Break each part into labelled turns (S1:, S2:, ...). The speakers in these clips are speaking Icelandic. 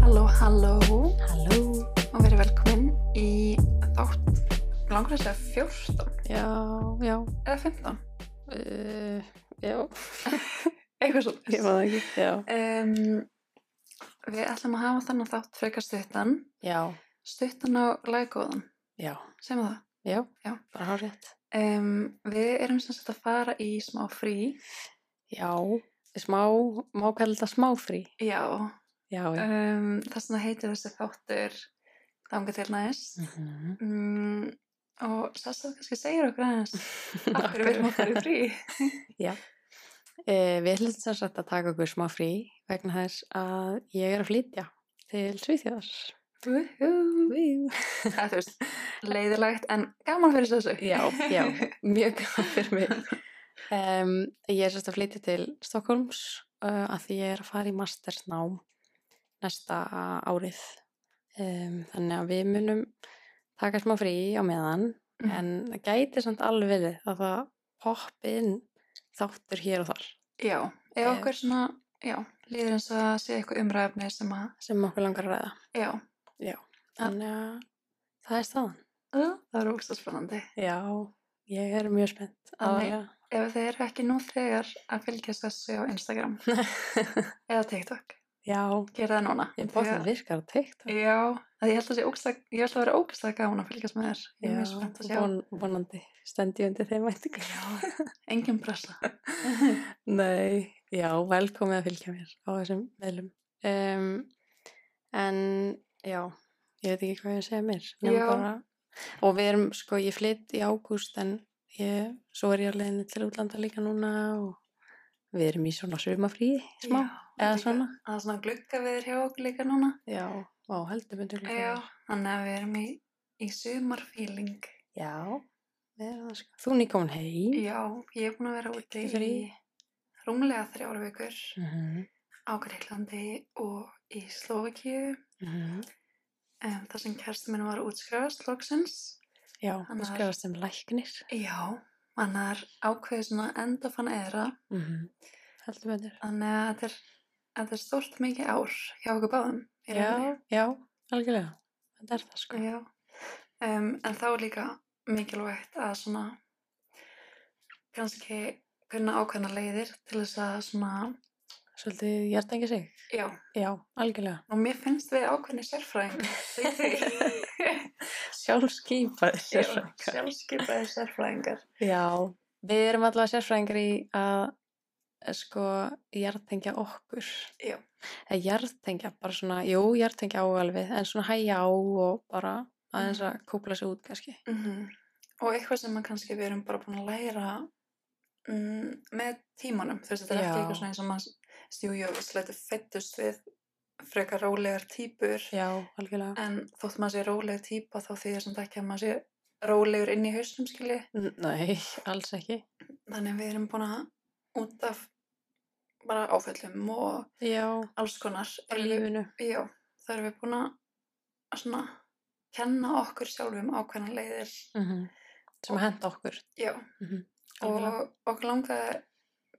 S1: Halló
S2: Halló
S1: og verið velkomin í þátt langur þess að 14
S2: Já, já
S1: eða 15
S2: uh, Já,
S1: eitthvað
S2: ég
S1: svolítið
S2: maður ekki Já,
S1: um, Við ætlum að hafa þannig þátt frekar stuttan
S2: já,
S1: stuttan á laggóðan,
S2: já,
S1: segjum við það
S2: já,
S1: Já.
S2: bara hár rétt
S1: um, Við erum sem sagt að fara í smá frí
S2: Já, smá, má kalla þetta smáfrí
S1: Já,
S2: Já, já
S1: um, þess vegna heitir þessi þáttur þangað til næst
S2: mm -hmm.
S1: mm, og Sassa kannski segir okkur aðeins af hverju við erum að fara í frí
S2: Eh, Við ætlum sem sagt að taka okkur smáfrí vegna þess að ég er að flytja til Svíþjóðar
S1: Woohoo! eða þú veist, leiðilegt en gaman fyrir þessu.
S2: Já, já, mjög gaman fyrir mig. Um, ég er sérst að flytja til Stokkólms uh, að því ég er að fara í mastersnám næsta árið. Um, þannig að við munum taka smá frí á meðan
S1: Mhm.
S2: en það gæti samt alveg verið að það poppi inn þáttur hér og þar
S1: Já, ef
S2: Eh.
S1: okkur svona, já, líður eins og að sé eitthvað umræðefni sem að,
S2: sem okkur langar að ræða.
S1: já,
S2: Þannig að það er staðan.
S1: það er ógst spennandi.
S2: Já, ég er mjög spennt.
S1: Þannig-
S2: aðallega.
S1: Ef þið eru ekki nú þegar að fylgja þessu á Instagram eða TikTok,
S2: Já,
S1: gera það núna.
S2: ég bótt að
S1: því.
S2: virkar á TikTok.
S1: Já, að ég held að sé ógst að, ég held að vera ógst að gána að fylgjast með þér. Ég er mjög spennt að sjá.
S2: von, vonandi stend ég undir þeim væntingum.
S1: Já, engin bressa.
S2: Nei, já, velkomið að fylgja mér á þessum meðlum. Um, en já, ég veit ekki hvað ég að segja mér. nema
S1: Já.
S2: Bara, og við erum, sko, ég flytt í ágúst en ég, svo er ég á leiðinni til útlanda líka núna og við erum í svona sumafríði, smá,
S1: Já,
S2: eða
S1: líka-
S2: svona.
S1: Það er svona glugga við hjá okkur líka núna.
S2: Já, á heldur myndur líka.
S1: Já, þannig að við erum í, í sumarfíling.
S2: Já, við erum það sko. Þú nýkomin heim.
S1: Já, ég er búin að vera úti
S2: Í frí?
S1: í rúmlega þrjár vikur
S2: Mm -hmm.
S1: á Greiklandi og í Slovakíu
S2: mhm.
S1: um, þar sem kersti minn var útskrifast loksins.
S2: Já,
S1: Hann
S2: þú
S1: var-
S2: skrifast sem læknir.
S1: Já, hann er ákveðið svona enda fann eðra
S2: Mm Heldur myndur.
S1: þannig að þetta er, þetta er stórt mikið ár hjá okkur báðum. í rauninni.
S2: Já, já, algjörlega. Þetta er það sko.
S1: Já. Um, en þá er líka mikilvægt að svona kannski kunna ákveðna leiðir til þess að svona,
S2: Svolítið hjartengi sig.
S1: já,
S2: Já, algjörlega.
S1: og mér finnst við ákveðni sérfræðing.
S2: Sjálfskeipaði
S1: Sjálfskipaði sérfræðingar.
S2: Já, við erum allavega sérfræðingar í að eh, sko hjartengja okkur.
S1: Já.
S2: Eða hjartengja bara svona, jú, hjartengja á alveg, en svona hægja á og bara aðeins að kúpla sig út kannski.
S1: Mhm. Og eitthvað sem að kannski við erum bara búin að læra mm, með tímanum. Þú veist, þetta er
S2: Já.
S1: ekki eitthvað svona eins og maður stjúju og slættu fettust við frekar rólegar típur.
S2: Já, algjörlega.
S1: En þótt maður sé rólegar típa þá því þessum ekki að maður sé rólegur inn í hausnum skili.
S2: N- Nei, alls ekki.
S1: Þannig að við erum búin að út af bara áföllum og
S2: Já,
S1: alls konar.
S2: bara
S1: erum við-
S2: lífinu.
S1: Já, það erum við búin að að svona kenna okkur sjálfum ákveðna leiðir.
S2: Mm Sem að henda okkur.
S1: Já,
S2: Mm -hmm.
S1: og okkur langaði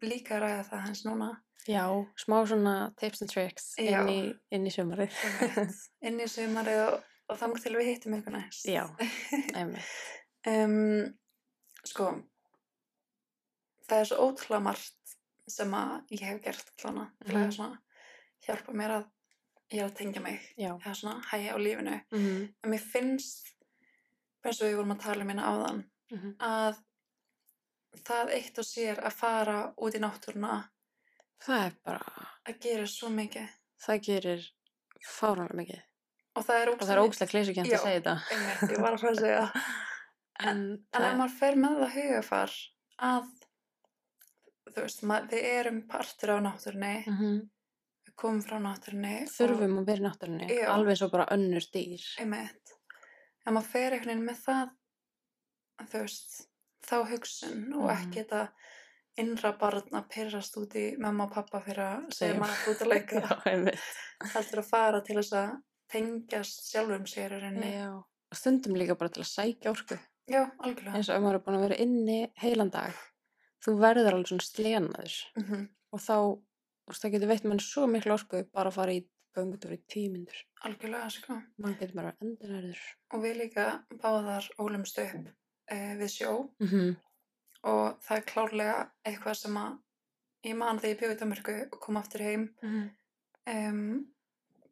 S1: líka að ræða það hans núna
S2: Já, smá svona tips and tricks
S1: Já.
S2: inn í, inn í sumarið.
S1: einmitt, inn í sumarið og, og þannig til við hittum ykkur næst.
S2: Já, einmitt.
S1: Um, sko, það er svo ótrúlega margt sem að ég hef gert allan til að
S2: Mhm.
S1: svona hjálpa mér að ég er að tengja mig
S2: Já.
S1: eða svona hægja á lífinu.
S2: Mm -hmm.
S1: En mér finnst, eins og við vorum að tala um minna áðan,
S2: Mm -hmm.
S1: að það eitt og sér að fara út í náttúruna
S2: Það er bara,
S1: að gera svo mikið
S2: það gerir fáránlega mikið.
S1: og það er
S2: Og það er ógstlega klísugjönd
S1: Já.
S2: að segja þetta.
S1: Einmitt, ég var að fara að segja það.
S2: En,
S1: en
S2: það,
S1: ef maður fer með það hugafar að þú veist, mað, við erum partur á náttúrunni
S2: mm
S1: við komum frá náttúrunni og-
S2: þurfum að vera í náttúrunni,
S1: Já.
S2: alveg eins og bara önnur dýr.
S1: einmitt, ef maður fer einhvern veginn með það þú veist, þá hugsun og
S2: Mhm.
S1: ekki þetta innra barn að pyrrast út í mamma og pappa fyrir að segja
S2: Segjum.
S1: maður að út að leika
S2: einmitt.
S1: heldur að fara til þess að tengjast sjálfum sér í rauninni.
S2: Já. Og Stundum líka bara til að sækja orku.
S1: Já, algjörlega.
S2: Eins og ef maður er búin að vera inni heilan dag, þú verður alveg svona slenaður.
S1: Mhm.
S2: og þá, þú veist, það getur veitt mann svo miklu orku bara að fara í göngutúr í tímindur.
S1: algjörlega sko.
S2: maður getur bara endurærður
S1: Og við líka báðar ólumst upp uh, við sjó
S2: mm -hmm.
S1: og það er klárlega eitthvað sem að ég man þegar ég bjóði í Danmarku og kom aftur heim
S2: mm -hmm.
S1: um,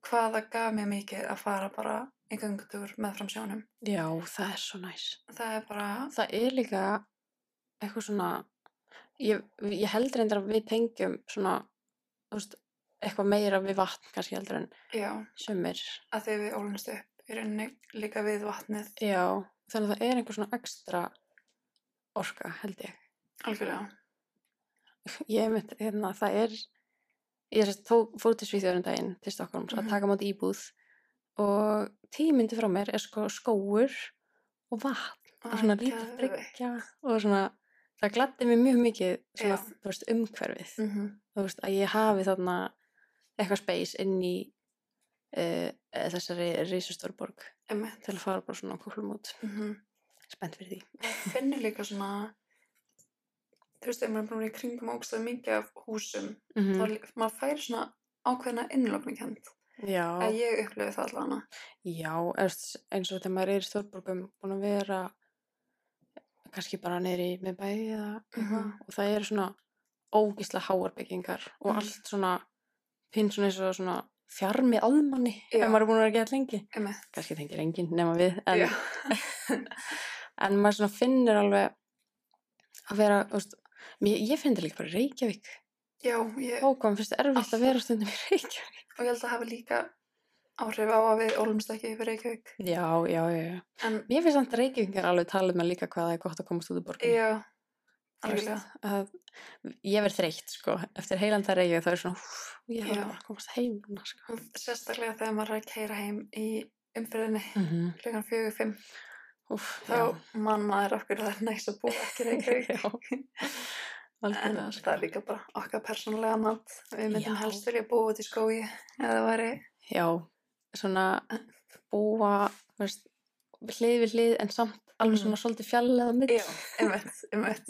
S1: hvað það gaf mér mikið að fara bara í göngutúr með fram sjónum.
S2: já, það er svo næs
S1: Það er bara,
S2: það er líka eitthvað svona ég, ég held reyndar að við tengjum svona þú veist, eitthvað meira við vatn kannski heldur en
S1: já,
S2: sumir
S1: að þegar við ólumst upp í rauninni líka við vatnið
S2: já, þannig að það er einhver svona ekstra orka held ég
S1: algjörlega.
S2: ég mynd, hérna, það er ég sérst, tó, fór til Svíþjóðurinn daginn til Stokkólms
S1: Mhm.
S2: að taka mátt íbúð og tímyndi frá mér er sko skóur og vatn og svona lítið bryggja og svona það gladdi mér mjög mikið svona,
S1: Já.
S2: þú veist, umhverfið
S1: Mm -hmm.
S2: þú veist, að ég hafi þarna eitthvað space inn í uh, þessari reisustórborg
S1: Emmett.
S2: til að fara bara svona kúklum út
S1: Mm -hmm.
S2: spennt fyrir því
S1: Finnir líka svona, þú veist, ef maður er búin í kringum ógstað mikið af húsum,
S2: mm
S1: mm. þá maður færi svona ákveðna innlokningkend.
S2: já,
S1: að Ég upplifi það allavega.
S2: já eins, eins og þegar maður er í stórborgum búin að vera kannski bara niður í miðbæ eða eitthvað
S1: Mhm.
S2: og það eru svona ógísla háarbyggingar
S1: Mhm.
S2: og allt svona pinn svona eins og svona fjarmi aðmanni
S1: Já.
S2: ef maður er búin að vera að geta lengi
S1: Emmett.
S2: kannski tengir enginn nema við en,
S1: Já.
S2: en maður svona finnur alveg að vera þú veist, mér, ég finn þetta líka bara í Reykjavík
S1: Já, ég,
S2: þá kom fyrst erfitt
S1: Alltaf.
S2: að vera stundum í Reykjavík
S1: og ég held að hafa líka áhrif á að við ólumst ekki yfir Reykjavík.
S2: já, já, já, já
S1: En
S2: mér finnst samt að Reykjavíkingar alveg tala um að líka hvað það er gott að komast út úr borgum
S1: já, algjörlega.
S2: ég verð þreytt sko eftir heilan það Reykjavík þá er svona hú, ég þarf
S1: Já.
S2: bara að komast heim núna, sko.
S1: Sérstaklega þegar maður er að keira heim í umfyrinni
S2: mm -hmm.
S1: klukkan fjögur fimm,
S2: Úf,
S1: Mhm. þá mann maður okkur það er næst að búa ekki í Reykjavík. En
S2: algjörlega
S1: það
S2: sko.
S1: er líka bara okkar persónulega mat. Við myndum
S2: Já.
S1: helst vilja búa út í skói eða það væri,
S2: já, svona búa þú veist, hlið við hlið en samt alveg
S1: Mhm.
S2: svona svolítið fjallega mitt
S1: já, einmitt, einmitt.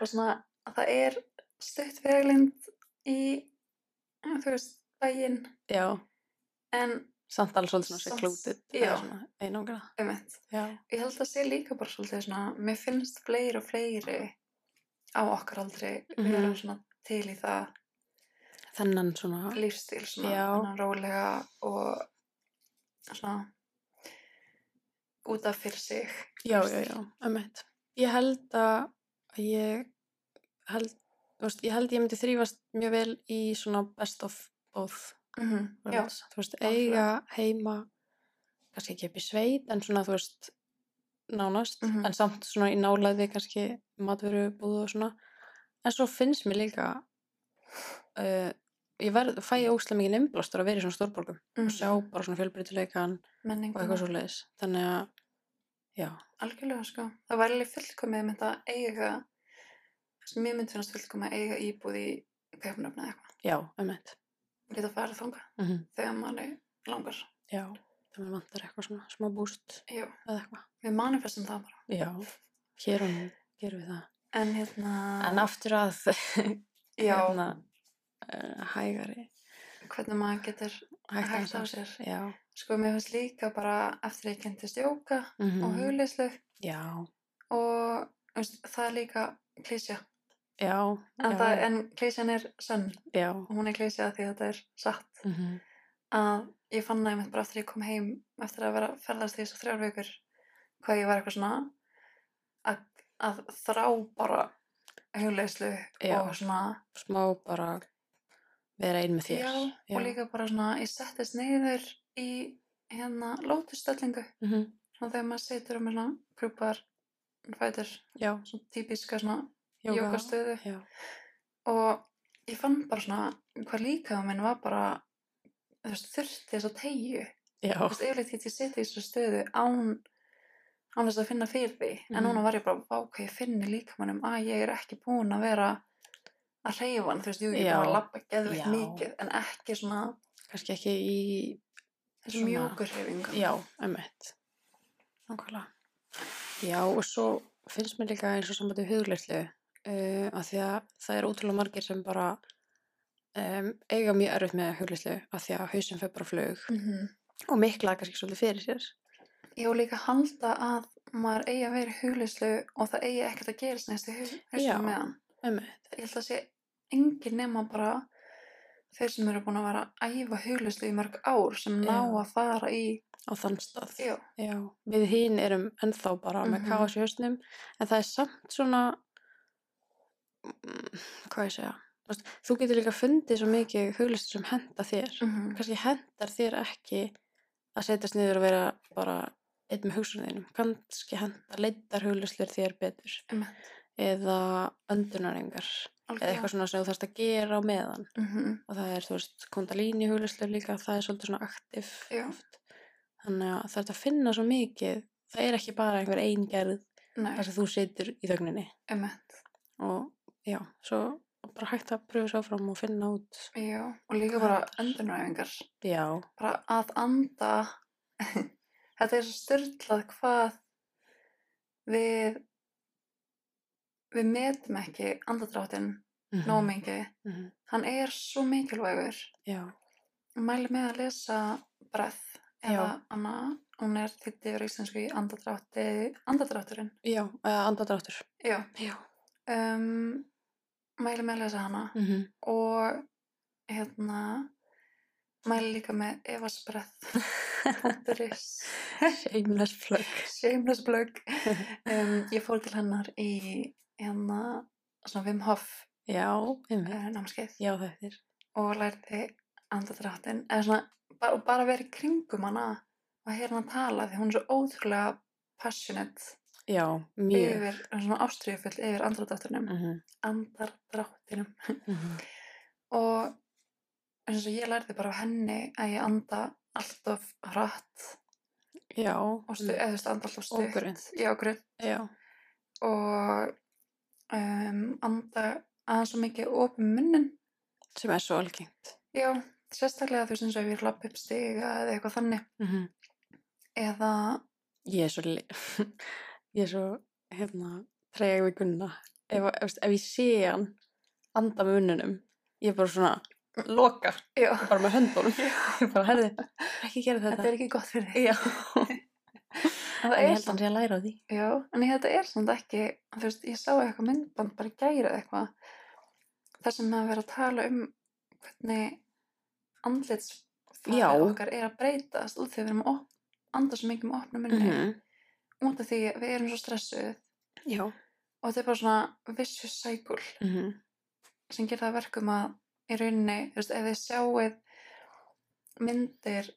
S1: Og svona að það er stutt veglind í, ja, þú veist, bæinn,
S2: já,
S1: en
S2: samt alveg svolítið svona sér
S1: Samt-
S2: klútið
S1: já.
S2: einangra
S1: einmitt.
S2: já,
S1: Ég held að sé líka bara svolítið svona, mér finnst fleiri og fleiri á okkar aldrei
S2: Mhm.
S1: vera svona til í það
S2: þennan svona
S1: lífstíl svona,
S2: Já.
S1: þennan rólega og svona út af fyrir sig.
S2: já, já, já, ömmett ég held að að ég held, þú veist, ég held ég myndi þrýfast mjög vel í svona best of both
S1: Mm Já,
S2: worlds, þú veist, eiga heima kannski ekki upp í sveit en svona, þú veist, nánast
S1: Mhm.
S2: en samt svona í nálaði kannski matveru búðu og svona en svo finnst mér líka uh, ég verð, fæ óslega mikið nefnblástur að vera í svona stórborgum
S1: mm.
S2: og sjá bara svona fjölbreytileikan og eitthvað
S1: menningum,
S2: svo leiðis þannig að, já,
S1: algjörlega sko. Það væri alveg fullkomið með þetta eiga, sem mér myndi finnast fullkomið að eiga íbúð í kaupnöfni eða eitthvað.
S2: já, emmett
S1: Geta farið þangað
S2: mm
S1: þegar maður langar.
S2: já, þannig að vantar eitthvað svona smá búst
S1: Já,
S2: eða eitthvað,
S1: við manifestum það bara.
S2: já, hér og nú gerum við það
S1: En hérna,
S2: en aftur að
S1: já,
S2: hérna, uh, hægari
S1: hvernig maður getur,
S2: hægt
S1: Hægt á
S2: á
S1: sér.
S2: sér já,
S1: sko mér finnst líka bara eftir að ég kynntist jóka
S2: mm
S1: og hugleyslu
S2: já,
S1: og veist, það er líka klísja.
S2: já,
S1: En,
S2: já,
S1: það- en klísjan er sönn
S2: já.
S1: og hún er klísja því að þetta er satt.
S2: Mm
S1: að ég fann það einmitt bara eftir að ég kom heim eftir að vera ferðast í þessu þrjár vikur hvað ég var eitthvað svona að, að þrá bara hugleyslu
S2: Já.
S1: og svona
S2: smá bara vera einn með þér
S1: já, og líka bara svona ég settist neyður í hérna lótusstellingu
S2: Mhm,
S1: svona þegar maður setur um hérna grúpar fætur,
S2: já,
S1: svona típiska svona
S2: jóga.
S1: jókastöðu
S2: já,
S1: og ég fann bara svona hvað líka minn var bara þú veist, þurfti þess að tegju
S2: já,
S1: Þú veist, yfirleitt get ég setja í þessu stöðu án, án þess að finna fyrir því. En
S2: Mhm.
S1: núna var ég bara, vá, hvað ég finni líkamannum að ég er ekki búin að vera að hreyfa hann. Þú veist, jú, ég er
S2: Já.
S1: bara að labba geðveikt
S2: Já.
S1: mikið, en ekki svona
S2: kannski ekki í Svona.
S1: mjúkur hreyfingar.
S2: já, emmitt nákvæmlega já, og svo finnst mér líka eins og sambandi hugleyslu uh, að því að það er ótrúlega margir sem bara um, eiga mjög erfitt með hugleyslu að því að hausinn fer bara á flug
S1: Mhm.
S2: og mikla kannski svolítið fyrir sér
S1: Ég og líka halda að maður eigi að vera í huglislu og það eigi ekkert að gerast næstu
S2: Já.
S1: huglislu með hann.
S2: um,
S1: Ég held að sé engin nema bara þeir sem eru búin að vera að æfa huglislu í mörg ár sem ná
S2: Já.
S1: að fara í,
S2: á þann stað
S1: já,
S2: Já, við hín erum ennþá bara með
S1: Mhm.
S2: káas í hausnum en það er samt svona mm, hvað ég segja Þú veist, þú getur líka fundið svo mikið huglistur sem henda þér
S1: mm
S2: kannski hendar þér ekki að setjast niður og vera bara einn með hugsunniðinum, kannski hendar leitar huglistur þér betur
S1: Einmitt.
S2: eða öndunarengar eða eitthvað svona sem þú þarfst að gera á meðan
S1: Mhm.
S2: og það er, þú veist, kundalíni huglistur líka, það er svolítið svona aktiv
S1: Já.
S2: oft. þannig að það er að finna svo mikið það er ekki bara einhver eingerð
S1: Nei,
S2: þar sem þú situr í þögninni
S1: umhett,
S2: og já, svo bara hægt að pröfa svo fram og finna út
S1: já, og líka bara öndunaræfingar,
S2: já,
S1: bara að anda, þetta er svo styrlað hvað við, við metum ekki andadráttinn
S2: mm
S1: nóg mikið,
S2: -hmm.
S1: hann er svo mikilvægur,
S2: já,
S1: mæli með að lesa breath eða
S2: Já.
S1: anna, hún er þitt yfir íslensku í andadrátti, andadrátturinn,
S2: já, eða andadráttur
S1: já,
S2: já,
S1: um, mæli með að lesa hana.
S2: mm -hmm.
S1: og hérna mæli líka með evasbreath.is
S2: shameless plug
S1: shameless plug um, ég fór til hennar í hérna svona Wim Hof
S2: já, einmitt,
S1: uh, námskeið
S2: já þetta er
S1: og lærði andadráttin eða svona bara, og bara verið kringum hana og heyra hana tala því hún er svo ótrúlega passionate
S2: já, mjög
S1: yfir, svona ástriðufull yfir andardráttinum
S2: mm -hmm.
S1: andardráttinum
S2: Mhm.
S1: og eins og ég lærði bara af henni að ég anda alltaf hratt
S2: já, Mm.
S1: og stu, eða þú veist, anda alltaf
S2: og
S1: stutt
S2: grunnt
S1: já, grunn
S2: já,
S1: og um, anda aðeins svo mikið opum munnin
S2: sem er svo algengt
S1: já, sérstaklega þú veist eins og ef ég lapp upp stiga eða eitthvað þannig
S2: mm -hmm.
S1: eða,
S2: Ég er svo, le- ég er svo, hérna, treg við Gunna. Ef, ef, veist, ef ég sé hann anda með munnunum, ég er bara svona loka,
S1: já,
S2: bara með höndunum. Ég er bara, herði, ekki gera þetta.
S1: þetta er ekki gott fyrir þig
S2: Já.
S1: en
S2: En
S1: það
S2: ég
S1: er
S2: held hann
S1: samt
S2: sé að læra á því.
S1: já, en ég, þetta er samt ekki þú veist, ég sá eitthvað myndband bara í gæra eitthvað þar sem maður verið að tala um hvernig
S2: Já.
S1: andlitsfæri okkar er að breytast út þegar við erum að op- anda svo mikið með opnum munni
S2: Mhm.
S1: út af því að við erum svo stressuð
S2: Já.
S1: og þetta er bara svona vicious cycle
S2: Mm -hmm.
S1: sem gerir það að verkum að í rauninni, þú veist, ef þið sjáuð myndir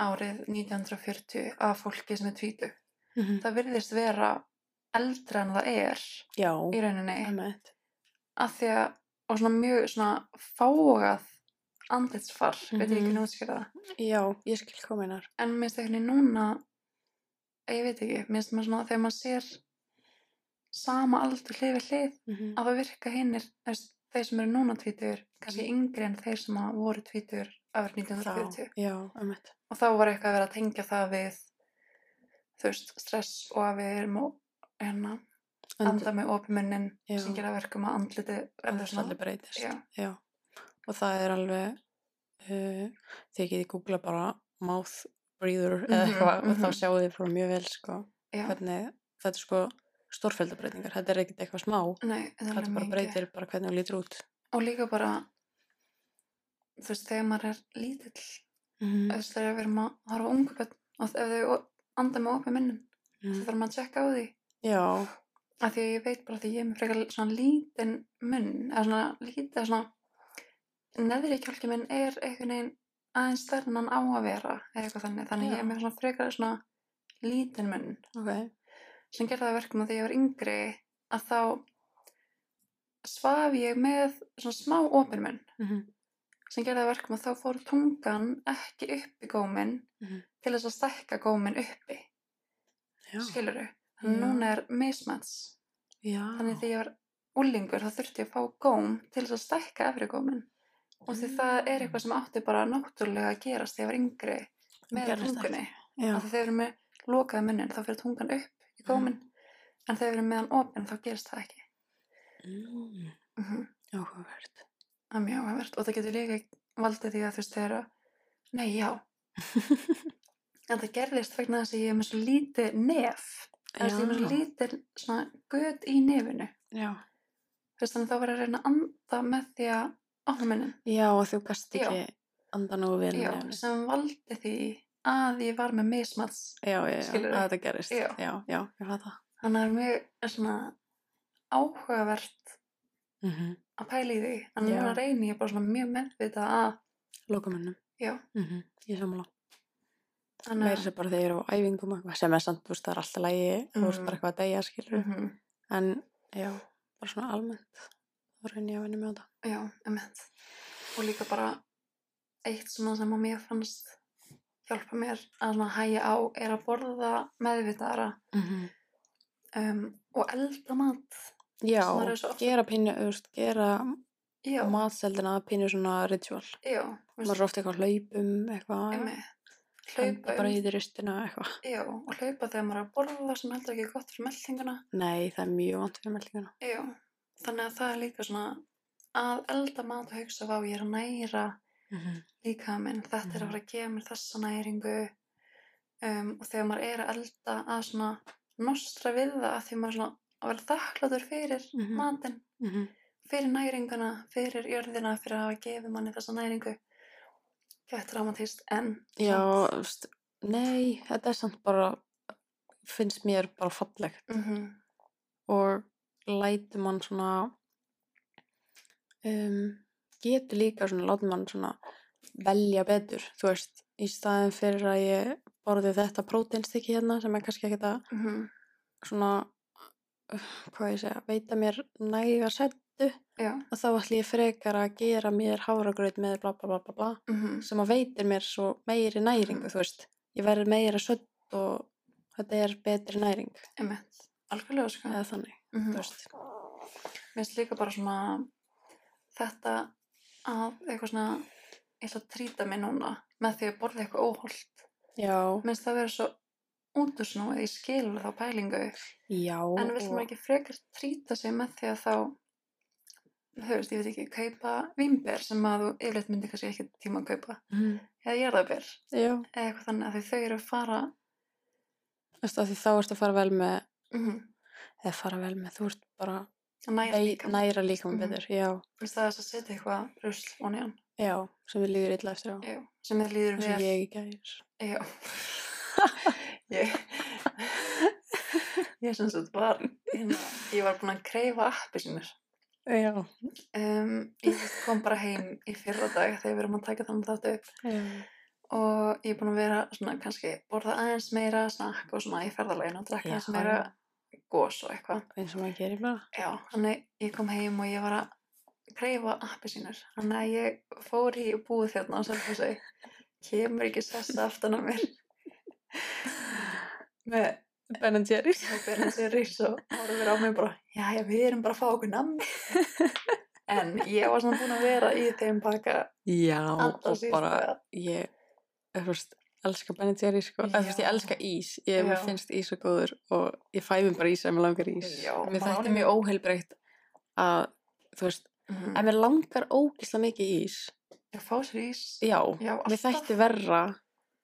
S1: árið 1940 af fólki sem er tvítu
S2: Mhm.
S1: það virðist vera eldra en það er
S2: Já.
S1: í rauninni
S2: Einmitt.
S1: af því að, og svona mjög svona fágað andlitsfar veit ég ekki
S2: Mhm.
S1: nú útskýra það
S2: Já, ég skil kominar.
S1: en minnst ekki núna ég veit ekki, minnst maður svona þegar maður sér sama aldur hlið við hlið
S2: Mm -hmm.
S1: að það virka hinnir þeir sem eru núna tvítur kannski
S2: Mhm.
S1: yngri en þeir sem að voru tvítur árið 1940
S2: Já, einmitt.
S1: og þá var eitthvað að vera að tengja það við þú veist, stress og að við erum og, hérna, anda með opimunnin
S2: Já.
S1: sem gera verkum að andliti
S2: Það er svolítið breytist.
S1: Já.
S2: Og það er alveg, uh, þegar getið googla bara mouth breather eða
S1: Mhm,
S2: eitthvað og þá
S1: mhm.
S2: sjáu þið frá mjög vel sko
S1: Já.
S2: hvernig þetta er sko stórfjöldabreitingar. Þetta er ekkert eitthvað smá.
S1: Nei, það er
S2: Þetta
S1: alveg
S2: bara
S1: mikið.
S2: breytir bara hvernig þú lítur út.
S1: og líka bara þú veist, þegar maður er lítill
S2: Mhm. Mm,
S1: þú veist, þegar við erum að horfa á ungu börn og ef þau o- anda með opimunnin þá
S2: Mhm.
S1: þarf maður að tjekka á því
S2: Já,
S1: að því að ég veit bara því ég er með frekar svona lítinn munn eða svona lítið eða svona neðri kjálki minn er einhvern veginn aðeins stærri en hann á að vera eða eitthvað þannig, þannig
S2: Já.
S1: ég er með svona frekar svona lítinn munn
S2: ok.
S1: sem gerði það að verkum að því ég var yngri að þá svaf ég með svona smá opin munn
S2: Mhm.
S1: sem gerði það að verkum að þá fór tungan ekki upp í góminn
S2: Mhm.
S1: til þess að stækka góminn uppi,
S2: Já.
S1: skilur þau
S2: Já.
S1: þannig núna er mismats
S2: Já.
S1: Þannig þegar ég var úlingur þá þurfti ég að fá góm til þess að stækka efri gómin. Og því það er eitthvað sem átti bara náttúrulega að gerast þegar ég var yngri með
S2: gerðist ekki.
S1: tungunni.
S2: Já.
S1: Af því þegar við erum með lokaða munnin þá fyrir tungan upp í gómin. En þegar við erum með hann opinn þá gerist það ekki.
S2: Mm.
S1: Mm -hmm.
S2: Áhugavert.
S1: Það er mjög áhverfært. Og það getur líka valdið því að þú veist þegar að, nei já, en það gerðist vegna þess að ég er með svo lítið nef eða þess að ég er með svo lítið svona göt í nefinu
S2: já.
S1: Þú veist, þannig að þá var ég að reyna að anda með því að opna munnin
S2: já, og þú gast
S1: Já.
S2: ekki anda nú vel
S1: já,
S2: nefnir.
S1: sem valdi því að ég var með mismats
S2: já, já, já,
S1: Skilurðu?
S2: að þetta gerist
S1: Já.
S2: já, já ég fata
S1: þannig að það er mjög svona áhugavert
S2: mm -hmm.
S1: að pæla í því en
S2: Já.
S1: núna reyni ég bara svona mjög meðvita að
S2: lokumönnum
S1: Já.
S2: mm ég samla
S1: þannig
S2: meira
S1: að
S2: sem bara þegar ég er á æfingum og eitthvað, sem er samt, þú veist, það er alltaf lægi þú veist
S1: Mhm.
S2: bara eitthvað að deyja, skilur
S1: Mhm.
S2: en já, bara svona almennt þá reyni ég að vinna með þetta
S1: Já, emmett. Og líka bara eitt svona sem að mér fannst hjálpa mér að svona hæja á er að borða meðvitaðara Mhm. um, og elda mat.
S2: já,
S1: Svona er svo oft-
S2: gera pínu, þú veist, gera
S1: Já,
S2: matseldina að pínu svona ritual
S1: já.
S2: maður er ofta eitthvað á hlaupum eitthvað
S1: Emmett.
S2: henda
S1: Hlaupa
S2: bara
S1: um,
S2: í því rustina eitthvað
S1: já, og hlaupa þegar maður er að borða sem heldur ekki gott fyrir meldinguna.
S2: nei, það er mjög vant fyrir meldinguna
S1: Já, þannig að það er líka svona að elda mat og hugsa á ég er að næra Mhm. líka minn, þetta er
S2: Mhm.
S1: að fara að gefa mér þessa næringu um, og þegar maður er að elda að svona nostra við það að því maður svona að vera þakkláttur fyrir
S2: Mhm.
S1: matinn, fyrir næringuna fyrir jörðina, fyrir að hafa gefið manni þessa næringu gett dramatist en
S2: já, þú veist, nei, þetta er samt bara finnst mér bara fallegt
S1: mm
S2: Mhm. og lætur mann svona um, getur líka svona látur mann svona velja betur þú veist, í staðin fyrir að ég borði þetta próteinstykki hérna sem er kannski ekkert að
S1: Mhm.
S2: svona uh, hvað ég segja, veita mér næga settu
S1: já
S2: og þá ætli ég frekar að gera mér háragraut með bla bla bla bla bla
S1: mm
S2: sem að veitir mér svo meiri næringu, þú veist ég verður meira sött og þetta er betri næring
S1: einmitt, algjörlega sko
S2: eða þannig,
S1: mm
S2: þú veist
S1: Mér finnst líka bara svona þetta að eitthvað svona ég ætla að trýta mig núna með því að borða eitthvað óholt Mér
S2: já,
S1: finnst það vera svo útursnúið, ég skilur þá pælingu,
S2: já
S1: en vill
S2: og-
S1: maður ekki frekar trýta sig með því að þá, þú veist, ég veit ekki, kaupa vimber sem að þú yfirleitt myndi kannski ekki tíma að kaupa,
S2: Mhm.
S1: eða jarðaber, eða
S2: Já,
S1: eitthvað þannig að því þau eru að fara,
S2: veist að því þá ertu að fara vel með
S1: mm,
S2: eða fara vel með, þú ert bara
S1: næra
S2: vei-
S1: líka, mér
S2: næra líka með
S1: Mhm.
S2: betur, já,
S1: finnst það þess að setja eitthvað rusl og nján,
S2: já sem við líður illa eftir á,
S1: já, sem þið líður
S2: eins og
S1: vel,
S2: ég ekki gæðis
S1: já, ég, ég sem sagt var, hérna, ég var búin að kreifa appi sinur.
S2: Já,
S1: Um, ég kom bara heim í fyrra dag þegar við erum að taka þannig þáttu upp
S2: já,
S1: og ég er búin að vera svona kannski borða aðeins meira snakk og svona í ferðalegin og drakka
S2: Já.
S1: aðeins meira gos og eitthvað.
S2: eins og maður gerir bara
S1: Já, þannig ég kom heim og ég var að kreifa appi sínur. Þannig að ég fór í búið þérna og sem þú segi, kemur ekki sessa aftan að mér
S2: Með Ben Jerry
S1: og byrja þessi rís og horfir á mig bara, já, já, við erum bara að fá okkur nammi. En ég var svona búin að vera í þeim baka
S2: Já,
S1: alltaf
S2: og
S1: síðust
S2: bara ég, þú veist, elska Ben Jerry sko, eða þú veist, ég
S1: Já.
S2: elska ís ég mér
S1: Já.
S2: finnst ís svo góður og ég fæði bara ís ef mér langar ís
S1: Já,
S2: mér
S1: maður á
S2: þætti
S1: honum-
S2: mjög óheilbreytt að, þú veist,
S1: Mm.
S2: ef mér langar ógislega mikið í ís
S1: Já, fá sér ís.
S2: Já,
S1: Já,
S2: mér þætti verra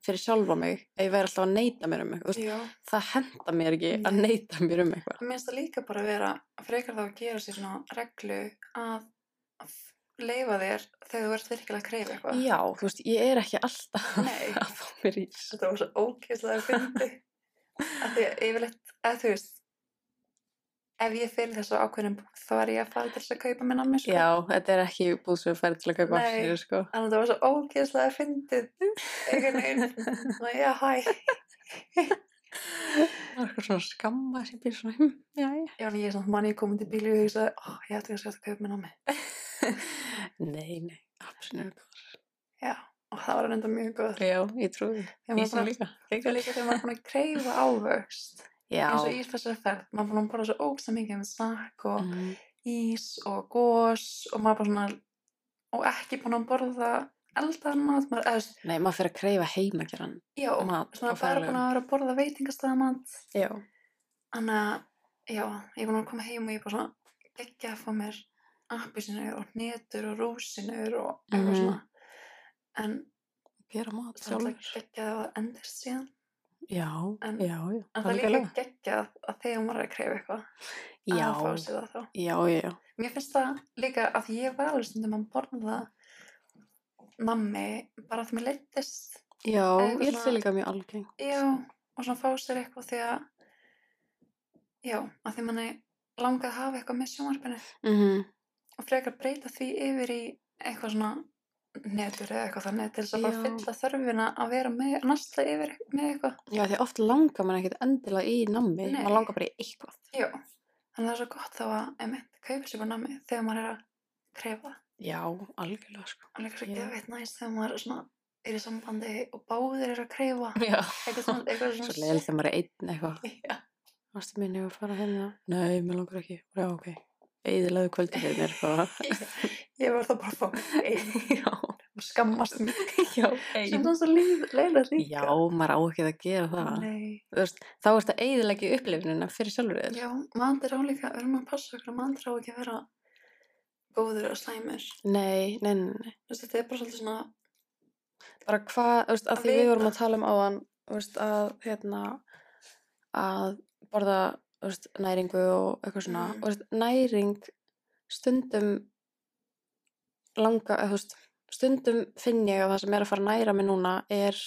S2: fyrir sjálfa mig ef ég væri alltaf að neyta mér um eitthvað Þú veist,
S1: Já,
S2: það henda mér ekki að
S1: Nei.
S2: neyta mér um eitthvað
S1: mér finnst það líka bara að vera frekar þá að gera sér svona reglu að leifa þér þegar þú ert virkilega að kreyfa eitthvað.
S2: já, þú veist, ég er ekki alltaf
S1: Nei.
S2: að fá mér ís
S1: Þetta var svo ógeðslega fyndi. Af því að yfirleitt, að þú veist, ef ég fyrir þessu ákveðnum búð þá er ég að fara til þess að kaupa minn nammi, sko.
S2: já, þetta er ekki búið sem ferð til að kaupa
S1: Nei.
S2: aftur sko.
S1: Þannig að það var svo ógeðslega fyndið, einhvern veginn, svona, já, hæ.
S2: það er eitthvað svona skamma sem býr svona hm, já, já.
S1: Já, en ég er svona manni komin til bílu og ég sagði, ó, ég ætti kannski að kaupa minn nammi.
S2: nei, nei, absolutt
S1: Já, og það var reynda mjög góð.
S2: já, ég trúi
S1: Ég
S2: því ísum líka
S1: Svo
S2: Geggjað.
S1: líka þegar maður er búin að kreyfa ávöxt
S2: já,
S1: eins og í þessari ferð, maður er búin að borða svo ógsta mikið með snakk og
S2: Mhm.
S1: ís og gós og maður bara svona og ekki búin að borða eldaðan mat, maður eða
S2: nei, maður fyrir að kreyfa heima að gera hann
S1: já,
S2: Mat
S1: svona
S2: á
S1: bara
S2: ferðalögum.
S1: búin að vera að borða veitingastæðamat
S2: já,
S1: þannig að, já, ég er búin að koma heim og ég er bara svona geggja að fá mér appisinur og hnetur og rósinur og eitthvað
S2: Mhm.
S1: svona en
S2: gera mat
S1: Það er
S2: sjálfur.
S1: geggjað að það endist síðan.
S2: Já,
S1: En-
S2: já, já.
S1: En það er líka
S2: algjörlega.
S1: geggjað að þegar maður er að krefa eitthvað,
S2: Já,
S1: að fá sér það þá.
S2: já, já, já.
S1: Mér finnst það líka að ég var alveg stundum að borða nammi bara að mér leittist.
S2: Já,
S1: eitthvað
S2: ég held
S1: svona-
S2: það líka mjög algengt.
S1: Já, og svona fá sér eitthvað því að, já, að því manni langað að hafa eitthvað með sjónvarpinu
S2: Mm
S1: og frekar breyta því yfir í eitthvað svona netur eða eitthvað þannig til þess að bara
S2: Já.
S1: fylla þörfina að vera með, að nasla yfir með eitthvað.
S2: Já, því oft langar mann ekkert endilega í nammi,
S1: Nei.
S2: maður langar bara í eitthvað.
S1: Já, þannig að það er svo gott þá að, einmitt, kaupa sér bara nammi þegar maður er að krefa það.
S2: Já, algjörlega, sko.
S1: Og líka svo
S2: Já.
S1: geðveitt næst þegar maður er svona er í sambandi og báðir er að krefa
S2: Já.
S1: eitthvað svona, eitthvað svona
S2: Svo leiðilega þegar maður er einn eitthvað.
S1: Já,
S2: Vastu minni að fara hérna? Nei, mér langar ekki. Já, ok. Eðilaðu kvöldi fyrir mér bara.
S1: ég var þá bara að fá einn
S2: já,
S1: og skammast mér
S2: já,
S1: sem það er svo leiðilega líka
S2: Já, maður á ekki að gera það.
S1: Nei.
S2: Þú Veist, þá er þetta eðilegi upplifinina fyrir sjálfur þér.
S1: Já, maður á líka, við erum að passa okkur að maður á ekki að vera góður og slæmur
S2: Nei, nei, nei, nei.
S1: Þú veist, þetta er bara svolítið svona
S2: Bara hvað, þú veist, að
S1: Að
S2: því við
S1: vita.
S2: vorum að tala um áðan, þú veist, að, hérna, að borða, þú veist, næringu og eitthvað svona.
S1: Mm.
S2: Mm. Veist, næring stundum langa, eða, þú veist, stundum finn ég að það sem er að fara að næra mig núna er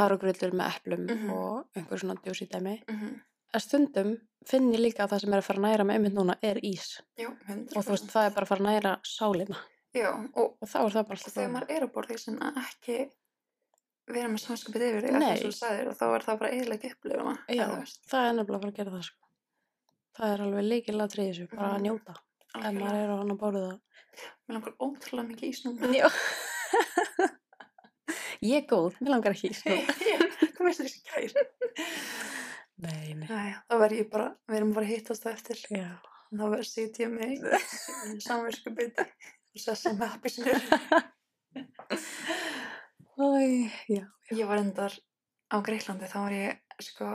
S2: harugrillur með eplum
S1: Mhm.
S2: og einhver svona djúsi dæmi.
S1: mm
S2: En stundum finn ég líka að það sem er að fara að næra mig einmitt núna er ís.
S1: Já, hundur
S2: og þú veist, það er bara að fara að næra sálina
S1: Já, og
S2: og þá er það bara alltaf
S1: þegar
S2: bara-
S1: maður er að borða því sem að ekki vera með samskapið yfir því eftir
S2: Nei.
S1: svo sæðir og þá er það bara eiginlega ekki upplifuna
S2: Já,
S1: eða þú veist,
S2: það er nefnilega bara að gera það sko. það er alveg líkilega að treyja þessu bara að
S1: Mhm.
S2: njóta, ef maður
S1: algjörlega.
S2: er á hann að borða
S1: Mér langar ótrúlega mikið ís núna
S2: það Já Ég er góð, mér langar ekki sko.
S1: Hvað veist þér í kæri?
S2: Nei, nei
S1: Næja, þá verð ég bara, við erum bara að hittast það eftir
S2: Já.
S1: þá verð sýt ég mig samverskupið og sessa með appisnur
S2: Æ, já.
S1: Ég var endar á Greiklandi, þá var ég, sko,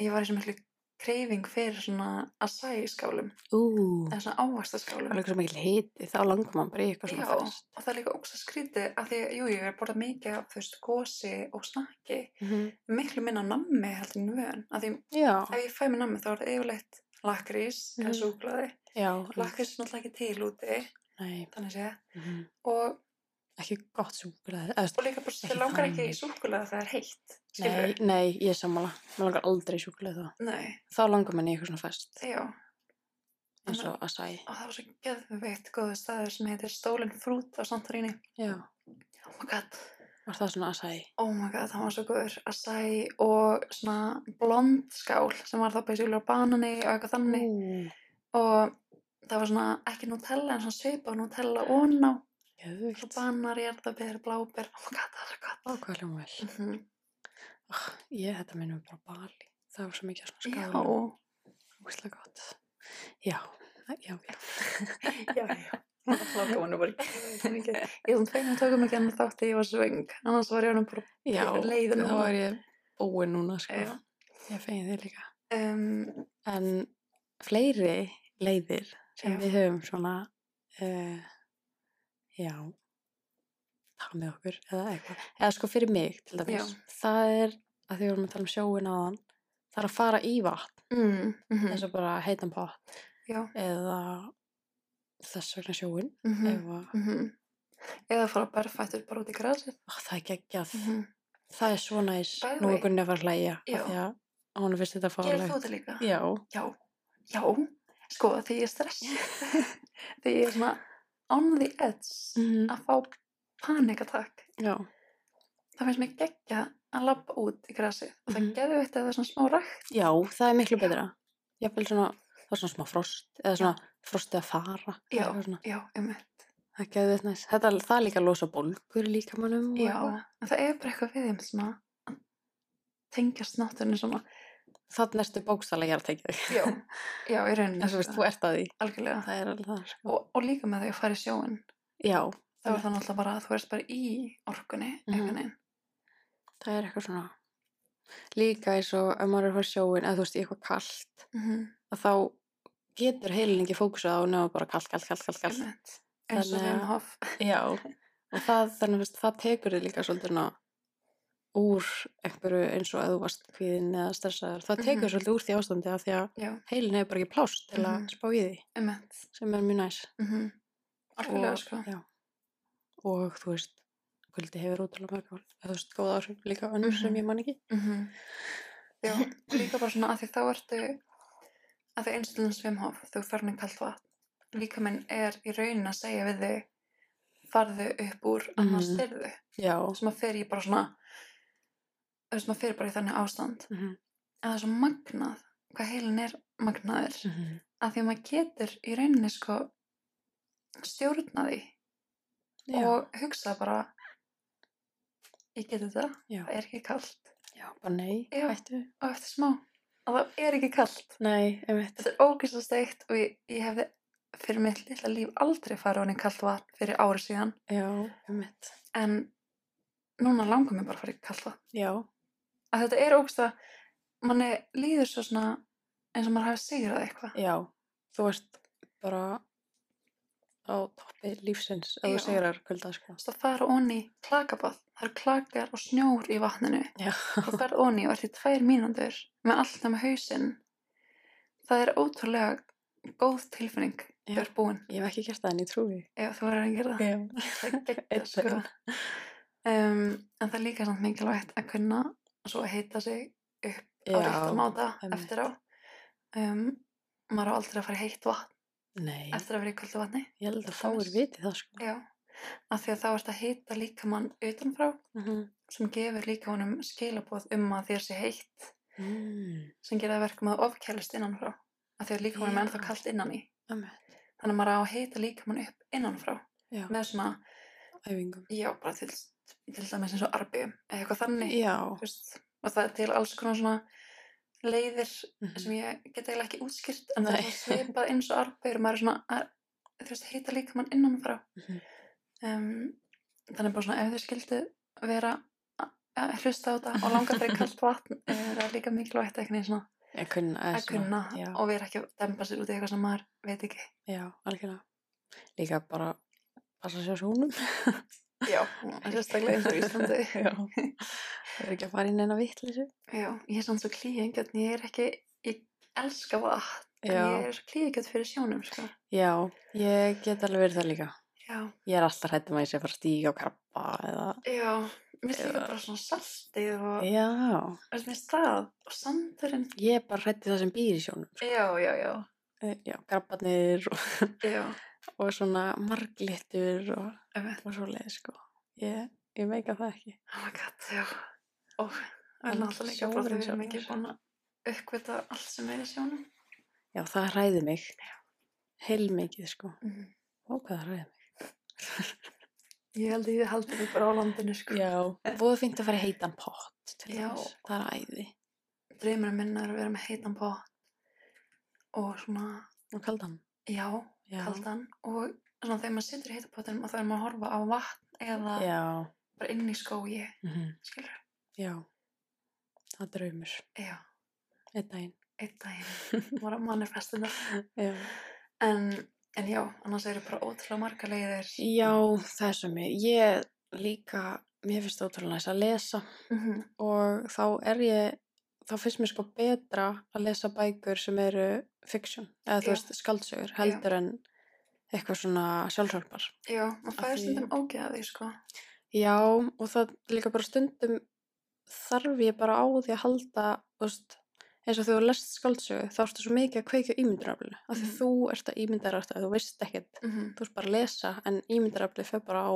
S1: ég var í svo miklu kreyfing fyrir svona acai skálum,
S2: Ú,
S1: eða svona ávasta skálum.
S2: alveg svo mikil hiti þá langar maður bara í eitthvað svona
S1: Já,
S2: fyrst
S1: og það er líka ógst að skrítið að því, að, jú, ég er að borða mikið af, þú veist, gósi og snakki,
S2: mm -hmm.
S1: miklu minna nammi heldur en vön, að því
S2: Já,
S1: ef ég fæ mér nammi þá er það yfirleitt lakrís eða
S2: Mhm.
S1: súklaði,
S2: já
S1: lakrís er náttúrulega ekki til úti,
S2: Nei,
S1: þannig sé,
S2: mm
S1: og,
S2: ekki gott súkulega eða,
S1: og líka bara,
S2: Ekki
S1: þið langar
S2: þannig.
S1: ekki í súklaði það er heitt,
S2: nei,
S1: skilur,
S2: nei, ég er sammála mér langar aldrei súkulega þá
S1: nei,
S2: þá langar manni í eitthvað svona fest
S1: já,
S2: eins og acai
S1: og það var svo geðveitt góðu staður sem heitir Stólin Frút á Santorini,
S2: já,
S1: oh my god,
S2: var það svona acai
S1: oh my god, það var svo góður, acai og svona blond skál sem var þá beisílu á banani og eitthvað þannig,
S2: Ú,
S1: og það var svona ekki Nutella en svona svipa og Nutella ón á svo
S2: geðvikt
S1: banar, jarðabir, blábir oh my god, það er svo gott
S2: ákvað hljóma vel
S1: mm -hmm.
S2: oh, ég þetta minnum bara á Bali það var svo mikið af svona
S1: já,
S2: skála úslega gott já, já, já
S1: já, já Lókamannu var ekki Ég er svona fegin að tókum ekki annað þátti ég var svöng annars var ég hann bara
S2: já,
S1: Ég er leið
S2: þá
S1: núna.
S2: er ég búin núna sko.
S1: Já.
S2: ég fegin þig líka
S1: um,
S2: en fleiri leiðir sem
S1: Já.
S2: við höfum svona uh, já taka með okkur eða eitthvað, eða sko fyrir mig til dæmis, það er að því við vorum að tala um sjóin áðan, það er að fara í vatn
S1: mm, mm
S2: eins og bara heitan pott
S1: já,
S2: eða þess vegna sjóin
S1: mm
S2: mm.
S1: -hmm.
S2: eða,
S1: eða fara berfættur bara út í grasi
S2: ó, ah, það er geggjað
S1: mm -hmm.
S2: það er svo næs,
S1: By the
S2: nú
S1: way.
S2: er Gunni að fara að hlæja
S1: Já.
S2: af því að hún finnst þetta
S1: gerir þú
S2: fárlega
S1: þetta líka?
S2: já,
S1: já, já, sko þegar ég er stress þegar ég er svona on the edge
S2: mm.
S1: að fá panikatakk
S2: já,
S1: það finnst mér geggja að labba út í grasi og það
S2: Mhm.
S1: mm. geður veitt að það er svona smá rækt
S2: já, það er miklu
S1: Já.
S2: betra jafnvel svona, það er svona smá frost eða svona frostið að fara eða
S1: Já.
S2: eitthvað svona.
S1: já, um
S2: það er geðveikt næs, þetta, það er líka að losa bólgur líka mannum
S1: já, en það er bara eitthvað við þeim svona að tengja snáttunni svona
S2: þannig erstu bókstælega að tekja þig
S1: já, já, í rauninni
S2: en svo veist,
S1: sko,
S2: þú ert að því
S1: algjörlega
S2: það er alveg það, sko
S1: og, og líka með því að fara í sjóin
S2: já,
S1: þá er það náttúrulega bara að þú erst bara í orkunni
S2: Mhm.
S1: einhvern veginn
S2: það er eitthvað svona líka eins og ef maður er að fara í sjóin eða þú veist, í eitthvað kalt
S1: Mhm,
S2: að þá getur heilin ekki fókusað á nema bara kall, kall, kall, kall, kall.
S1: einmitt. eins og
S2: Þannig að-
S1: þeim hoff
S2: Já, og og það, þannig að það tekur þið líka svolítið svona úr einhverju eins og að þú varst kvíðin eða stressaður, það tekur
S1: Mhm.
S2: svolítið úr því ástandi af því að
S1: Já,
S2: heilin hefur bara ekki pláss til að
S1: Mhm.
S2: spá í því
S1: emmett.
S2: sem er mjög næs
S1: Mm -hmm. Algjörlega,
S2: og,
S1: sko.
S2: já, og þú veist kvöldi hefur útrúlega mörg áhrif, eða þú veist góð áhrif líka önnur sem
S1: Mhm.
S2: ég man ekki
S1: Mm Já, líka bara svona að því þá ertu að því einstundum svimhof þú farin í kalt vatn líka minn er í raunin að segja við þig farðu upp úr annars
S2: Mhm.
S1: mm. styrðu
S2: já
S1: sem að fer ég bara svona þess maður fer bara í þannig ástand
S2: mm -hmm.
S1: að það er svo magnað hvað heilin er magnaður
S2: Mm.
S1: að því að maður getur í rauninni sko stjórna því
S2: já,
S1: og hugsa bara ég geti þetta,
S2: já,
S1: það er ekki kalt
S2: já, bara nei
S1: Já.
S2: hættu,
S1: og eftir smá að það er ekki kalt
S2: nei, einmitt
S1: Þetta er ógeðslega steikt og ég, ég hefði fyrir mitt lilla líf aldrei farið ofan í kallt vatn fyrir ári síðan
S2: já, einmitt,
S1: en núna langar mér bara að fara í kallt vatn.
S2: já
S1: Að þetta er ógeðslega, manni líður svo svona eins og maður hafi sigrað eitthvað.
S2: Já, þú ert bara á toppi lífsins ef þú
S1: Já.
S2: segrar kvölda, sko.
S1: Þú veist að fara ofan í klakabáð, það eru klakar og snjór í vatninu.
S2: Já.
S1: Þú ferð ofan í og ert í tvær mínútur með allt nema hausinn. Það er ótrúlega góð tilfinning
S2: Já.
S1: þegar búin
S2: Ég hef ekki gert það en ég trúi.
S1: ef þú verður að gera það.
S2: Já.
S1: Það er geggjað,
S2: Einn
S1: sko.
S2: daginn.
S1: um, en það er líka samt mikilvægt að kunna og svo að heita sig á réttan
S2: Já.
S1: máta
S2: einmitt.
S1: eftir á um, maður á aldrei að fara í heitt vatn
S2: Nei,
S1: eftir að vera í kvöldu vatni
S2: ég held að
S1: Það
S2: fáir
S1: er-
S2: viti það, sko.
S1: já, af því að þá ert að heita líka mann utanfrá
S2: Mhm.
S1: sem gefur líka honum skilabóð um að þér sé heitt
S2: Mm.
S1: sem gera það verkum að þú ofkælist innanfrá af því að líka honum
S2: Já.
S1: er ennþá kallt innan í
S2: Ömmett.
S1: þannig að maður á að heita líka mann upp innanfrá
S2: Já,
S1: með svona,
S2: æfingum.
S1: já, bara til, til dæmis eins og arbjum eða eitthvað þannig
S2: Já.
S1: þú veist, og það er til alls konar svona leiðir
S2: mhm.
S1: sem ég get eiginlega ekki útskýrt en það
S2: Nei.
S1: er svona svipað eins og arbegur maður er svona að, þú veist, heita líka mann innan frá
S2: Mhm.
S1: um, þannig bara svona ef þau skildu vera að- að hlusta á þetta og langa fyrir kallt vatn eh, það er líka mikilvægt ekki neins svona
S2: Að kunna. eða
S1: að
S2: svona,
S1: kunna
S2: Já,
S1: og vera ekki að dempa sér út í eitthvað sem maður veit ekki
S2: já, algjörlega. Líka bara passa sér á sjónum.
S1: já, sérstaklega eins og á Íslandi
S2: já. Það er ekki að fara inn eina vitleysu.
S1: já, ég er svona svo klíðingjörn ég er ekki, ég elska vatn en ég er svo klíðingjörn fyrir sjónum sko.
S2: Já, ég get alveg verið það líka.
S1: já,
S2: Ég er alltaf hættum að ég sé að fara að stíga á krabba eða...
S1: já mér slíka
S2: Eða-
S1: bara svona saltið og
S2: Já,
S1: Þú veist, það og sandurinn.
S2: ég er bara hrætti það sem býr í sjónum. sko.
S1: Já, já, já.
S2: Eh, Já, grabbarnir og,
S1: Já,
S2: og svona marglittur og,
S1: einmitt.
S2: og svo leið, sko. Ég, ég meika það ekki.
S1: Oh my god, já. Og það er
S2: En
S1: náttúrulega líka bara
S2: sjórinn
S1: þegar við erum
S2: sjálfur.
S1: ekki búin að uppvita allt sem er í sjónum.
S2: Já, það hræði mig. Heilmikið, sko.
S1: Mm.
S2: Ó, hvað það hræði mig.
S1: Ég held að ég haldi mig bara á landinu, sko.
S2: Já. Búið fínt að fara í heitan pott til
S1: Já.
S2: þess. Það er æði.
S1: Draumurinn minn er að vera með heitan pott og svona,
S2: Og kaldan.
S1: já,
S2: Já.
S1: kaldan. Og svona þegar maður situr í heitan pottinum og þá er maður að horfa á vatn eða
S2: Já.
S1: bara inn í skói,
S2: Mm
S1: skilur.
S2: Já. Það er draumur.
S1: Já,
S2: Einn daginn.
S1: einn daginn. Mára manifestina.
S2: Já.
S1: En, en já, annars eru bara ótrúlega marga leiðir.
S2: Já, það er svo mér. Ég líka, mér finnst það ótrúlega næst að lesa.
S1: Mhm.
S2: og þá er ég þá finnst mér sko betra að lesa bækur sem eru fiction eða þú
S1: Já.
S2: veist skaldsögur heldur en eitthvað svona sjálfsvörpar
S1: Já, maður
S2: Af
S1: fæði
S2: því-
S1: stundum ógeða því, sko.
S2: já og það líka bara stundum þarf ég bara á því að halda þú veist, eins og þú hefur lest skaldsögu þá ertu svo mikið að kveikja ímyndunaröflinu af því
S1: Mhm.
S2: þú ert að ímyndaröfla þú veist ekkert,
S1: Mm
S2: þú ert bara að lesa en ímyndaröfli fer bara á